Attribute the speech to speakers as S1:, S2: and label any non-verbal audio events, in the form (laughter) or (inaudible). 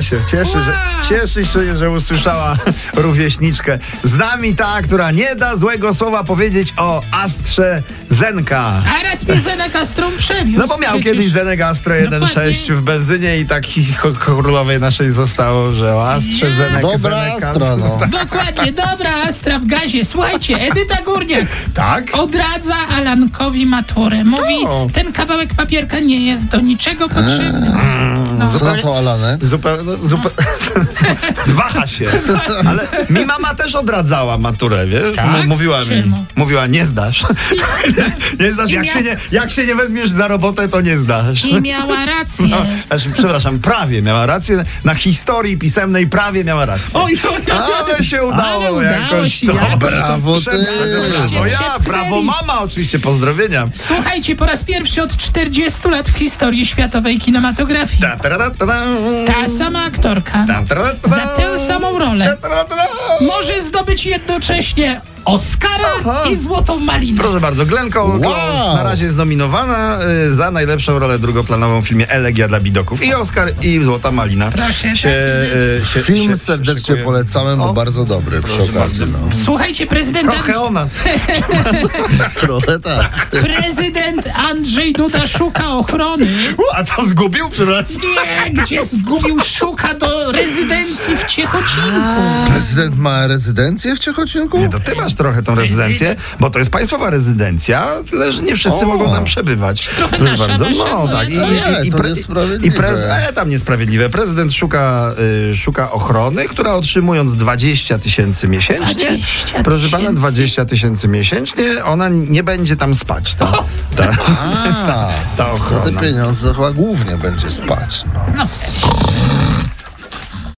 S1: się, cieszy, że, cieszy się, że usłyszała (laughs) rówieśniczkę. Z nami ta, która nie da złego słowa powiedzieć o Astrze Zenka.
S2: A raz mnie Zenek Astrum przemiósł.
S1: No bo miał
S2: przecież.
S1: kiedyś Zenek Astro
S2: Dokładnie.
S1: 1.6 w benzynie i taki cho- królowej naszej zostało, że o Astrze
S2: Ja.
S1: Zenek,
S3: Dobra
S1: Zenek
S3: Astra,
S1: Astro.
S3: no.
S2: Dokładnie, dobra, Astra w gazie. Słuchajcie, Edyta Górniak
S1: Tak?
S2: odradza Alankowi maturę. Mówi,
S1: O.
S2: ten kawałek papierka nie jest do niczego potrzebny. No.
S3: Co to, Alane?
S1: Zupełnie, no, zupe... (laughs) Waha się. Ale mi mama też odradzała maturę, wiesz?
S2: Tak?
S1: M- Mówiła mi.
S2: Czemu?
S1: Mówiła, nie zdasz. (laughs) nie, nie zdasz,
S2: I
S1: jak,
S2: mia-
S1: się nie, jak się nie weźmiesz za robotę, to nie zdasz.
S2: I miała rację.
S1: No, znaczy, przepraszam, prawie miała rację. Na historii pisemnej prawie miała rację.
S2: Oj, oj, oj.
S1: Ale się udało,
S2: udało
S1: jakoś
S2: się,
S1: to.
S2: jakoś to
S3: Brawo ty.
S1: Przepraszam,
S2: Żeście
S1: O ja,
S2: przepchnęli.
S1: brawo mama oczywiście, pozdrowienia.
S2: Słuchajcie, po raz pierwszy od 40 lat w historii światowej kinematografii
S1: Ta, ta, ta, ta, ta, ta,
S2: ta sama aktorka
S1: ta, ta, ta.
S2: za tę samą rolę
S1: Ta, ta, ta, ta.
S2: może zdobyć jednocześnie Oscara
S1: Aha.
S2: i Złotą Malinę.
S1: Proszę bardzo, Glenn Close
S3: Wow.
S1: na razie jest nominowana y, za najlepszą rolę drugoplanową w filmie Elegia dla Bidoków. I Oscar, i Złota Malina.
S2: Proszę,
S1: się, y, się,
S3: Film
S1: się-
S3: serdecznie
S1: szykuje.
S3: polecamy, bo
S1: O,
S3: bardzo dobry przy
S1: proszę
S3: okazji.
S1: bardzo.
S3: No.
S2: Słuchajcie, prezydent, Andrzej,
S1: Trochę o nas.
S3: Trochę tak.
S2: prezydent Andrzej Duda szuka ochrony.
S1: U, A co, zgubił? Przepraszam.
S2: Nie, gdzie zgubił, szuka do rezydencji w Ciechocinku.
S3: Prezydent ma rezydencję w Ciechocinku?
S1: Nie, to ty masz trochę tą rezydencję, bo to jest państwowa rezydencja, tyle że nie wszyscy
S3: O.
S1: mogą tam przebywać.
S2: Trochę
S1: Proszę
S2: nasza, nasza,
S1: No
S2: no,
S1: tak, i,
S2: to
S3: nie,
S1: i, i,
S3: to
S1: pre-
S3: niesprawiedliwe.
S1: i prezydent, e, tam niesprawiedliwe. Prezydent szuka, y, szuka ochrony, która otrzymując 20 tysięcy miesięcznie,
S2: 20
S1: proszę pana,
S2: tysięcy.
S1: 20 tysięcy miesięcznie, ona nie będzie tam spać. Ta, ta,
S3: A,
S1: ta
S3: za te
S1: ochrona.
S3: pieniądze chyba głównie będzie spać.
S2: No,